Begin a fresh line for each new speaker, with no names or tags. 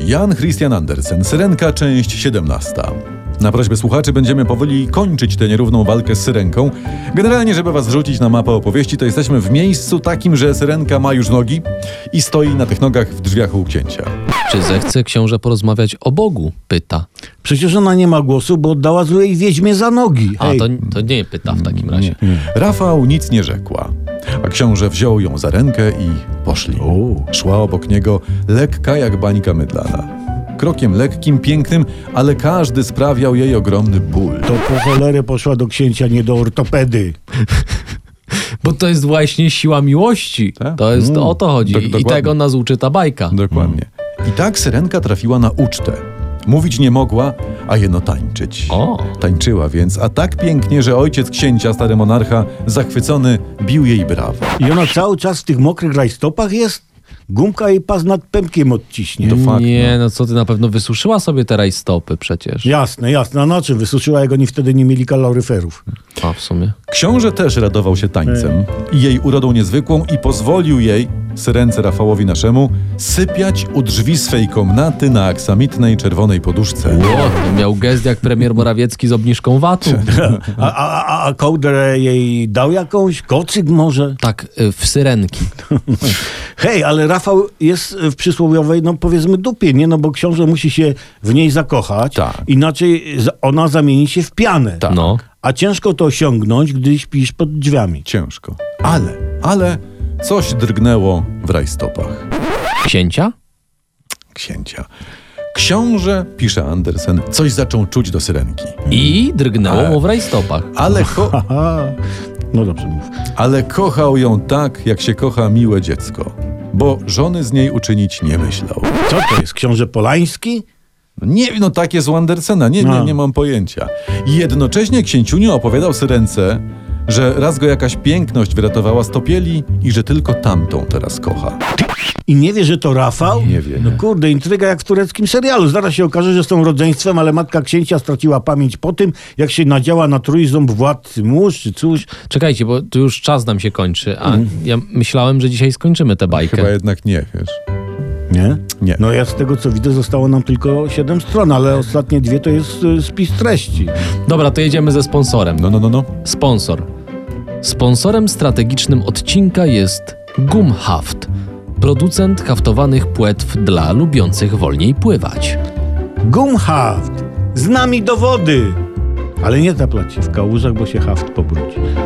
Jan Christian Andersen, Syrenka, część 17. Na prośbę słuchaczy będziemy powoli kończyć tę nierówną walkę z Syrenką. Generalnie, żeby was wrzucić na mapę opowieści, to jesteśmy w miejscu takim, że Syrenka ma już nogi i stoi na tych nogach w drzwiach u księcia.
Czy zechce książę porozmawiać o Bogu? Pyta.
Przecież ona nie ma głosu, bo oddała złej wiedźmie za nogi.
A
Ej,
to, to nie pyta w takim razie.
Rafał nic nie rzekła, a książę wziął ją za rękę i poszli. Szła obok niego lekka jak bańka mydlana. Krokiem lekkim, pięknym, ale każdy sprawiał jej ogromny ból.
To po cholerę poszła do księcia, nie do ortopedy.
Bo to jest właśnie siła miłości.
Tak.
To jest
Mm.
o to chodzi.
Dok-
I
dokładnie.
tego nas uczy ta bajka.
Dokładnie. I tak syrenka trafiła na ucztę. Mówić nie mogła, a jeno tańczyć.
O.
Tańczyła więc, a tak pięknie, że ojciec księcia, stary monarcha, zachwycony, bił jej brawo.
I ona cały czas w tych mokrych rajstopach jest? Gumka jej pas nad pępkiem odciśnie.
To fakt.
Nie, no co ty, na pewno wysuszyła sobie te rajstopy przecież.
Jasne, jasne. A na czym wysuszyła, jak oni wtedy nie mieli kaloryferów?
A w sumie.
Książę też radował się tańcem i jej urodą niezwykłą i pozwolił jej, syrence Rafałowi naszemu, sypiać u drzwi swej komnaty na aksamitnej czerwonej poduszce.
O, to miał gest jak premier Morawiecki z obniżką VAT-u.
Tak.
A, a, a, a kołdrę jej dał jakąś? Kocyk może?
Tak, y, w syrenki.
Hej, ale Rafał jest w przysłowiowej, no powiedzmy, dupie, nie? No bo książę musi się w niej zakochać.
Tak.
Inaczej za- ona zamieni się w pianę.
Tak.
No.
A ciężko to osiągnąć, gdy śpisz pod drzwiami.
Ciężko. Ale, ale coś drgnęło w rajstopach.
Księcia?
księcia. Książę, pisze Andersen, coś zaczął czuć do syrenki.
I
Tak.
drgnęło mu w rajstopach.
Ale, ko-
Aha. No dobrze mów.
ale kochał ją tak, jak się kocha miłe dziecko, bo żony z niej uczynić nie myślał.
Co to jest? Książę Polański?
No Nie, no takie z Andersena, nie, nie,
No.
nie mam pojęcia. I jednocześnie księciuniu opowiadał syrence, że raz go jakaś piękność wyratowała z topieli i że tylko tamtą teraz kocha.
I nie wie, że to Rafał?
Nie wie,
No
nie.
kurde, intryga jak w tureckim serialu. Zaraz się okaże, że są rodzeństwem, ale matka księcia straciła pamięć po tym, jak się nadziała na trójząb władcy mórz czy coś.
Czekajcie, bo tu już czas nam się kończy, a ja myślałem, że dzisiaj skończymy tę bajkę.
Mm. Chyba jednak nie, wiesz.
Nie?
Nie.
No ja z tego co widzę, zostało nam tylko 7 stron, ale ostatnie dwie to jest y, spis treści.
Dobra, to jedziemy ze sponsorem.
No, no, no, no.
Sponsor. Sponsorem strategicznym odcinka jest Gumhaft, producent haftowanych płetw dla lubiących wolniej pływać.
Gumhaft! Z nami do wody! Ale nie zaplać się w kałużach, bo się haft pobrudzi.